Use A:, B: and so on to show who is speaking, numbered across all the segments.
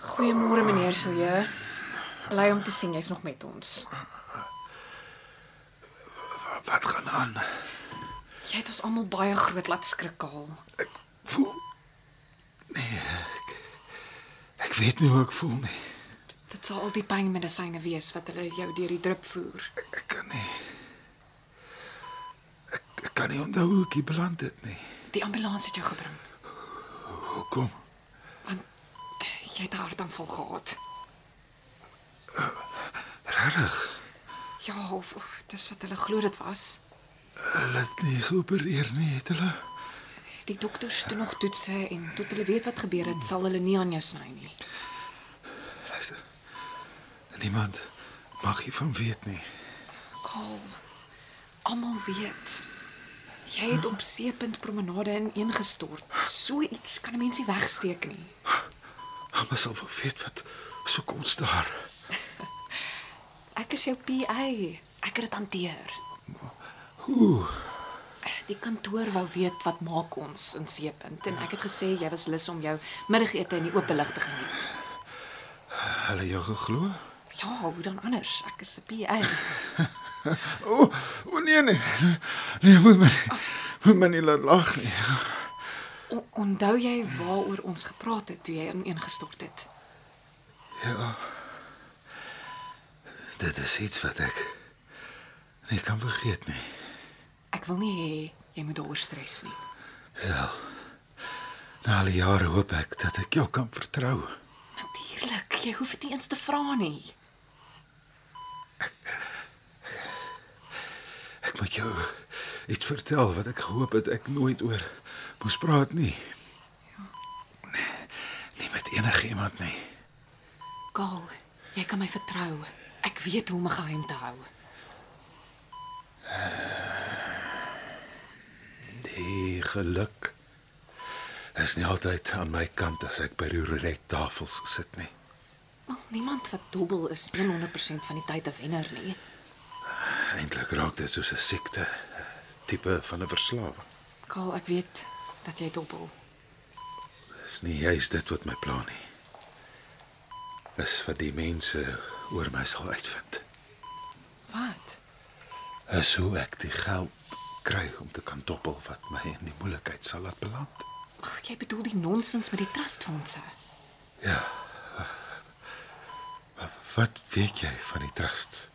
A: Goeiemôre meneer Silje. Bly om te sien jy's nog met ons.
B: Wat gaan aan?
A: Jy het ons almal baie groot laat skrik haal.
B: Voel Nee. Ek, ek weet nie hoe ek voel nie.
A: Dit sal al die pynmedisyne wees wat hulle jou deur die drup voer.
B: Ek, ek kan nie. Ek, ek kan nie onthou hoe ek hier beland het nie.
A: Die ambulans het jou gebring
B: Hoekom?
A: want eh, jy het 'n hartaanval gehad.
B: Regtig?
A: Ja, of, of dis wat hulle glo dit was.
B: Hulle het nie geopereer nie, het hulle?
A: Die dokters doen nog toetse en tot hulle weet wat gebeur het, sal hulle nie aan jou sny nie.
B: Luister. Niemand mag hiervan weet nie.
A: Kaal. Almal weet. Jy het op seepunt promenade ineengestort. So iets kan 'n mens nie wegsteek nie.
B: Almal sal wel weet wat soek ons daar.
A: Ek is jou PA. Ek het dit hanteer.
B: Ooh,
A: Die kantoor wou weet wat maak ons in Seepunt en ek het gesê jy was lus om jou middagete in die open lug te geniet.
B: hulle jou geglo?
A: Ja, hoe dan anders? Ek is 'n PA.
B: O, oh, oh nee nee. Nee, moet my nie, moet my nie laat lag nie.
A: O- Onthou jy waaroor ons gepraat het toe jy ineengestort het?
B: Ja. Dit is iets wat ek nie kan vergeet nie.
A: Ek wil nie hê jy moet daaroor stres nie.
B: Sel. Na al die jare hoop ek dat ek jou kan vertrou.
A: Natuurlik, jy hoef dit nie eens te vra nie.
B: Ek moet jou iets vertel wat ek gehoop het ek nooit oor moes praat nie. Nee, nie met enige iemand nie.
A: Kaal, jy kan my vertrou. Ek weet hoe om 'n geheim te hou.
B: Die geluk is nie altyd aan my kant as ek by die roulette tafels sit nie.
A: Wel, niemand wat dobbel is 100% van die tyd 'n wenner nie.
B: Eintlik raak dit soos 'n siekte, 'n tipe van 'n verslawing.
A: Kaal, ek weet dat jy dobbel.
B: Dis nie juis dit wat my pla nie. Dis wat die mense oor my sal uitvind.
A: Wat?
B: Is hoe ek die geld kry om te kan dobbel wat my in die moeilikheid sal laat beland.
A: Ag, jy bedoel die nonsens met die trustfondse.
B: Ja. Wa- Wat weet jy van die trusts?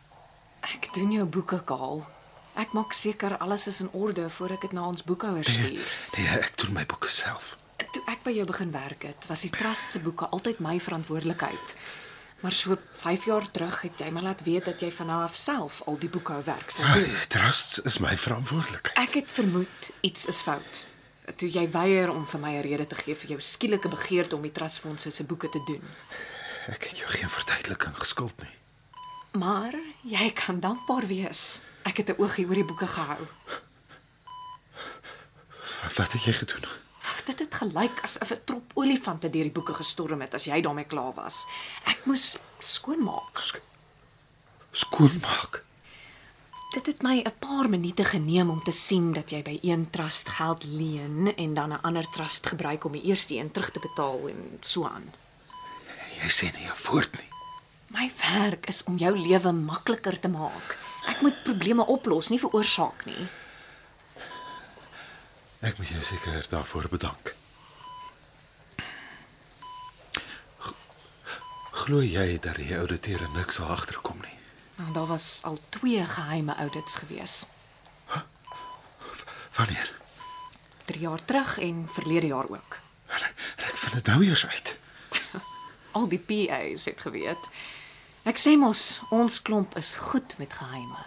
A: Ek doen jou boeke, Kaal. Ek maak seker alles is in orde voor ek dit na ons boekhouer stuur.
B: Nee, ek doen my boeke self.
A: Toe ek by jou begin werk het, was die trust se boeke altyd my verantwoordelikheid. Maar so 5 jaar terug het jy my laat weet dat jy van nou af self al die boekhouwerk sou doen.
B: Die Ah, trusts is my verantwoordelikheid.
A: Ek het vermoed iets is fout. Toe jy weier om vir my 'n rede te gee vir jou skielike begeerte om die trustfondse se boeke te doen.
B: Ek het jou geen verduideliking geskuld nie.
A: Maar jy kan dankbaar wees. Ek het 'n oogie oor die boeke gehou.
B: Wa- Wat het jy gedoen?
A: Dit het gelyk asof 'n trop olifante deur die boeke gestorm het as jy daarmee klaar was. Ek moes skoonmaak.
B: Skoonmaak.
A: Dit het my 'n paar minute geneem om te sien dat jy by een trust geld leen en dan 'n ander trust gebruik om die eerste een terug te betaal en so aan.
B: Nee, Jy sê nie 'n woord nie.
A: My werk is om jou lewe makliker te maak. Ek moet probleme oplos, nie veroorsaak nie.
B: Ek moet jou seker daarvoor bedank. G- Glo jy dat die ouditeure niks sal agterkom nie?
A: Nou daar was al twee geheime audits gewees.
B: Wanneer?
A: 3 jaar terug en verlede jaar ook.
B: En ek- en Ek vind dit nou eers uit.
A: Al die PA's het geweet. Ek sê mos, ons klomp is goed met geheime.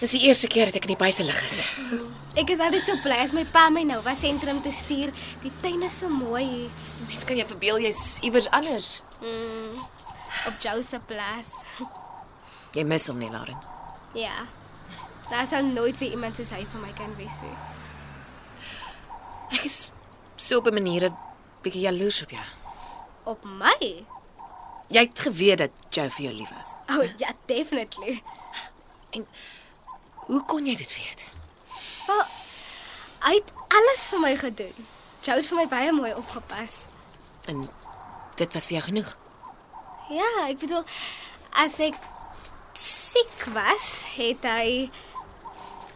C: Dis die eerste keer dat ek in die buitelug is.
D: Ek is altyd so bly as my pa my nou was sentrum toe stuur. Die tuin is so mooi hier
C: Mens kan jou verbeel jy's iewers anders.
D: op Joseph Plaas.
C: Jy mis hom nie, Lauren.
D: Ja. Daar sal nooit weer iemand soos hy vir my kan wees nie.
C: Ek is so op 'n manier 'n bietjie jaloers op jou.
D: Op my?
C: Jy het geweet dat Joe vir jou lief was.
D: Oh ja, definitely.
C: Hoe kon jy dit weet?
D: Wel, hy het alles vir my gedoen. Joe het vir my baie mooi opgepas.
C: En dit was vir jou genoeg.
D: Ja, ek bedoel as ek siek was, het hy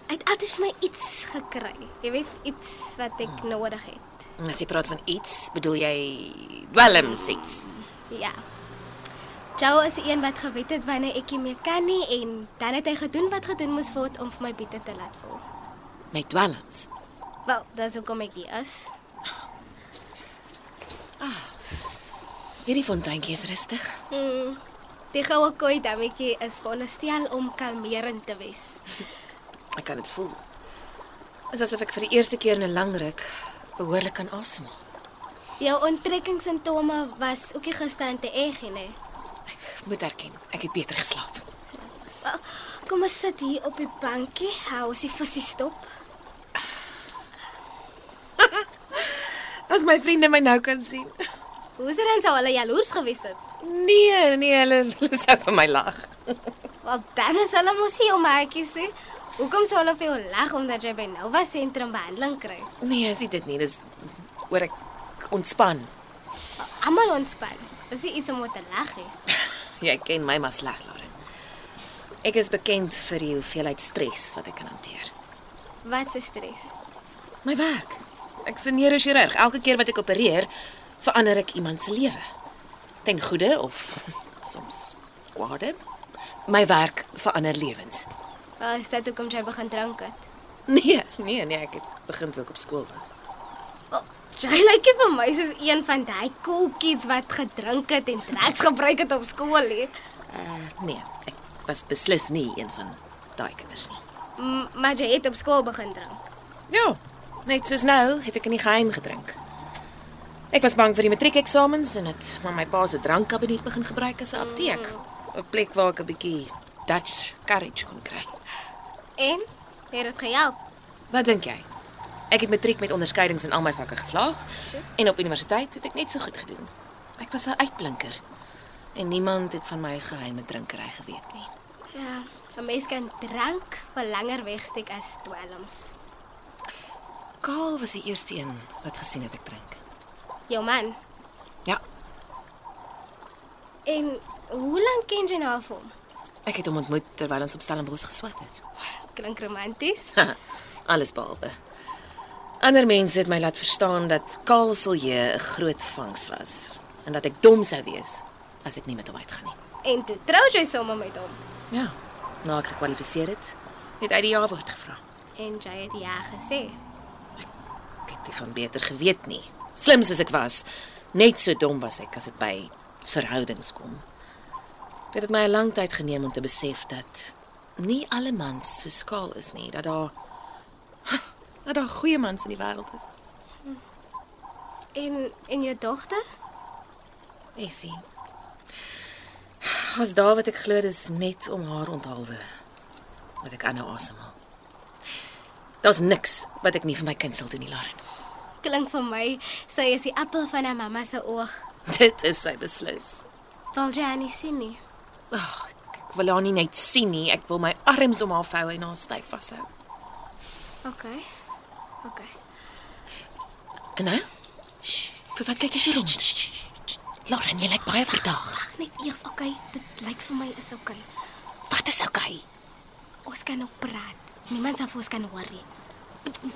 D: hy het altyd vir my iets gekry. Jy weet, iets wat ek nodig het.
C: En as jy praat van iets, bedoel jy dwelms iets.
D: Ja. Joe is die een wat gewet het wanneer ek nie meer kan nie en dan het hy gedoen wat gedoen moes word om vir my biete te laat voel.
C: Met dwelms.
D: Wel, dis hoekom ek hier is.
C: Hierdie fonteintjie is rustig.
D: Mm. Die goue koei dammetjie is veronderstel om kalmerend te wees.
C: Ek kan dit voel. Dit is asof ek vir die eerste keer in 'n lang ruk behoorlik kan asemhaal.
D: Jou onttrekkingssintome was ook nie gister te erg nie. nee.
C: Ek moet erken, ek het beter geslaap.
D: Wel, Kom ons sit hier op die bankie. Hou ons die visie stop.
C: As my vriende my nou kan sien.
D: Hoe is dit dan sou hulle jaloers gewees het?
C: Nee, nee, hulle, hulle sou vir my lag.
D: Want dan is hulle mos hier om hakies sê. Hoekom sou hulle vir jou lag omdat jy by Nova sentrum behandeling kry?
C: Nee, as dit nie, dis oor ek ontspan.
D: Almal ontspan. Dis nie iets om oor te lag nie.
C: Jy Ja, ken my maar sleg, Lauren. Ek is bekend vir die hoeveelheid stres wat ek kan hanteer.
D: Wat is stres?
C: My werk. Ek is 'n neurochirurg. Elke keer wat ek opereer, verander ek iemand se lewe. Ten goeie of soms kwade. My werk verander lewens.
D: Wel, is dit hoekom jy begin drink het?
C: Nee, nee, nee, ek het begin toe ek op skool was.
D: Wel, Jy lyk nie vir my soos een van daai cool kids wat gedrink het en drugs gebruik het op skool nie.
C: Uh nee, ek was beslis nie een van daai kinders nie.
D: M- Maar jy het op skool begin drink.
C: Ja, net soos nou het ek in die geheim gedrink. Ek was bang vir die matriekeksamens en het maar my pa se drankkabinet begin gebruik as 'n apteek. 'n Plek waar ek 'n bietjie Dutch courage kon kry.
D: En het dit gehelp?
C: Wat dink jy? Ek het matriek met onderskeidings in al my vakke geslaag en op universiteit het ek net so goed gedoen. Ek was 'n uitblinker en niemand het van my geheime drinkery geweet nie.
D: Ja, 'n mens kan drank vir langer wegsteek as dwelms.
C: Kaal was die eerste een wat gesien het ek drink.
D: Jou man.
C: Ja,
D: En hoe lank ken jy nou al hom?
C: ek het hom ontmoet terwyl ons op Stellenbosch geswat het.
D: Klink romanties.
C: Alles behalwe. Ander mense het my laat verstaan dat Kaal Silje 'n groot vangs was en dat ek dom sou wees as ek nie met hom uitgaan nie.
D: En toe trou jy sommer met hom.
C: Ja, nou ek gekwalifiseer het, het uit die jaar word gevra.
D: En jy het ja gesê.
C: Ek het nie van beter geweet nie. Slim soos ek was, net so dom was ek as dit by verhoudings kom. Dit het my 'n lang tyd geneem om te besef dat nie alle mans so skaal is nie, dat daar dat daar goeie mans in die wêreld is.
D: En en jou dogter?
C: Essie. As daar wat ek glo dis net om haar onthaalwe wat ek aanhou asemhaal. Daar's niks wat ek nie vir my kind sal doen nie, Lauren.
D: Klink vir my sy is die appel van haar mamma se oog.
C: Dit is sy beslis.
D: Wil jy haar nie sien nie?
C: Oh, ek wil haar nie net sien nie, ek wil my arms om haar vou en haar styf vashou.
D: OK. OK.
C: En nou? Vir wat kyk jy so rond? Lauren, jy lyk baie verdaag.
D: Wag net eers, OK. Dit lyk vir my is OK.
C: Wat is oukei?
D: Ons kan ook praat. Niemand sal vir ons kan hoor nie.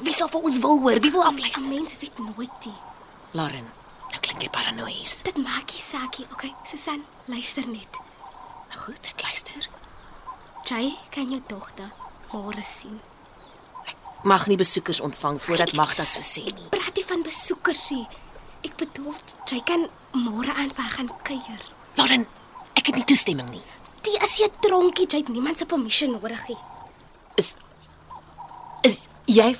C: Wie sal vir ons wil hoor? Wie wil afluister?
D: 'n Mens weet nooit nie.
C: Lauren, nou klink jy paranoïes.
D: Dit maak nie saak nie. OK, Susan, luister net.
C: Nou goed, ek luister.
D: Jy kan jou dogter môre sien.
C: Ek mag nie besoekers ontvang voordat Magda so sê nie.
D: Praat nie van besoekers nie. Ek bedoel, jy kan môre aan vir haar gaan kuier.
C: Lauren, ek het nie toestemming nie.
D: Dit is 'n tronkie, jy het niemand se permission nodig nie.
C: Is is jy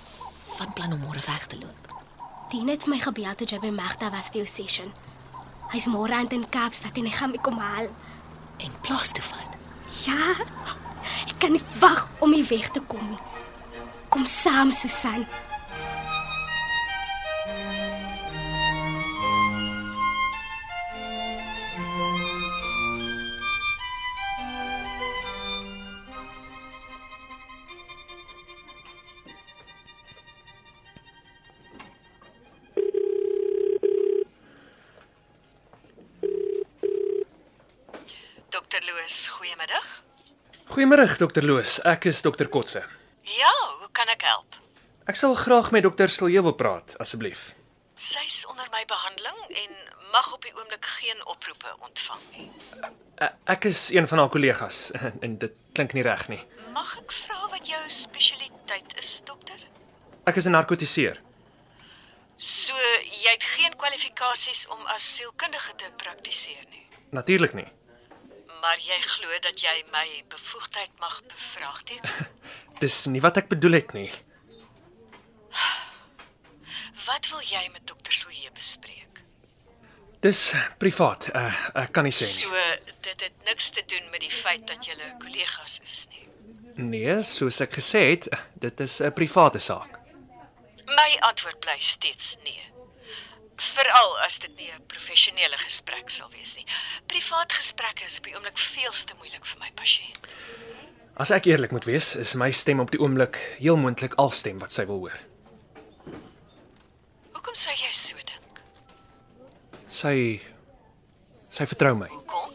C: van plan om môre weg te loop?
D: Dien het my gebel toe jy by Magda was vir jou session. Hy's môre aand in Kaapstad en hy gaan my kom haal.
C: en plaas toe vat.
D: Ja. Ek kan nie wag om hier weg te kom nie. Kom saam, Susan.
E: Dokter Loos, goeiemiddag.
F: Goeiemôre, dokter Loos. Ek is dokter Kotse.
E: Ja, hoe kan ek help?
F: Ek sal graag met dokter Silje wil praat, asseblief.
E: Sy's onder my behandeling en mag op die oomblik geen oproepe ontvang nie.
F: E- Ek is een van haar kollegas en dit klink nie reg nie.
E: Mag ek vra wat jou spesialiteit is, dokter?
F: Ek is 'n narkotiseer.
E: So, jy het geen kwalifikasies om as sielkundige te praktiseer nie,
F: Natuurlik nie.
E: maar jy glo dat jy my bevoegdheid mag bevraagteken.
F: Dis nie wat ek bedoel het nie.
E: Wat wil jy met dokter Silje bespreek?
F: Dis eh, privaat. Uh, ek kan nie sê
E: So, dit het niks te doen met die feit dat julle kollegas is nie.
F: nie. Nee, soos ek gesê het, eh, dit is 'n private saak.
E: My antwoord bly steeds nee. Veral as dit nie 'n professionele gesprek sal wees nie. Privaat gesprekke is op die oomblik veelste moeilik vir my pasiënt.
F: As ek eerlik moet wees, is my stem op die oomblik heel moontlik alstem wat sy wil hoor.
E: Hoekom sou jy so dink?
F: Sy sy vertrou my.
E: Hoekom?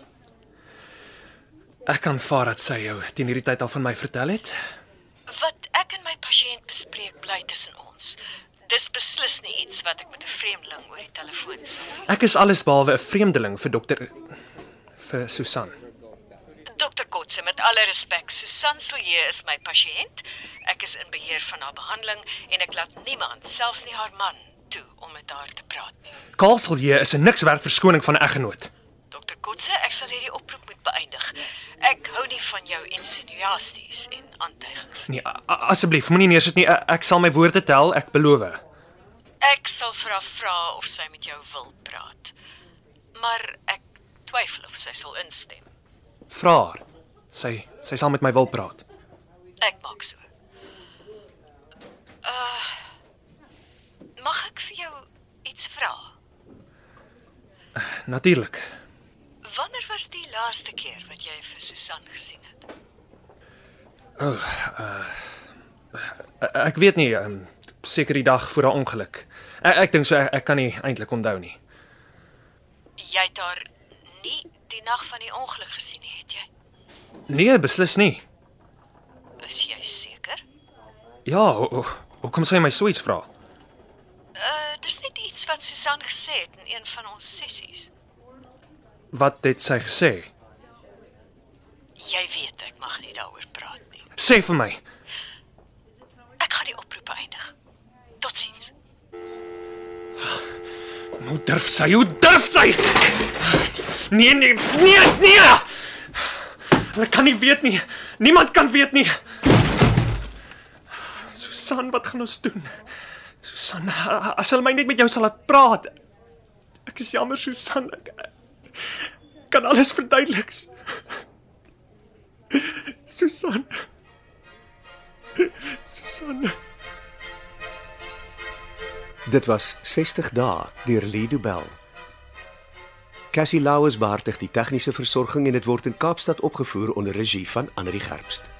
F: Ek kan vaar dat sy jou teen hierdie tyd al van my vertel het.
E: Wat ek en my pasiënt bespreek bly tussen ons. Dis beslis nie iets wat ek met 'n vreemdeling oor die telefoon sal doen.
F: Ek is allesbehalwe 'n vreemdeling vir dokter vir Susan.
E: Dokter Kotse, met alle respek, Susan Silje is my pasiënt. Ek is in beheer van haar behandeling en ek laat niemand, selfs nie haar man, toe om met haar te praat nie.
F: Kaalselje is 'n niks werd verskoning van 'n eggenoot.
E: Dokter Kotse, ek sal hierdie oproep moet beëindig. Ek hou nie van jou insinuasies en aantuigings.
F: Nee, a- a- asseblief, moenie neersit nie. E- Ek sal my woorde tel, ek beloof.
E: Ek sal vir haar vra of sy met jou wil praat. Maar ek twyfel of sy sal instem.
F: Vra haar. Sy sy sal met my wil praat.
E: Ek maak so. Uh Mag ek vir jou iets vra?
F: Natuurlik.
E: Wanneer was die laaste keer wat jy vir Susan gesien het?
F: E- Ek weet nie, um, seker die dag voor haar ongeluk. Ek, ek dink so e, ek, ek kan nie eintlik onthou nie.
E: Jy het haar nie die nag van die ongeluk gesien nie, het jy?
F: Nee, beslis nie.
E: Is jy seker?
F: Ja, ho- ho- hoekom sê jy my so iets vra?
E: Uh, dis net iets wat Susan gesê het in een van ons sessies.
F: Wat het sy gesê?
E: Jy weet ek mag nie daaroor praat nie.
F: Sê vir my.
E: Ek gaan die oproep eindig. Totsiens.
F: Hoe Nou durf sy? Hoe durf sy? Nee, nee, nee, nee. Hulle kan nie weet nie. Niemand kan weet nie. Susan, wat gaan ons doen? Susan, as hulle my net met jou sal laat praat. Ek is jammer, Susan. Ek ek kan alles verduidelik. Susan. Susan.
G: Dit was 60 dae deur Lido Bell. Cassie Lauers beheer die tegniese versorging en dit word in Kaapstad opgevoer onder regie van Anri Gerbst.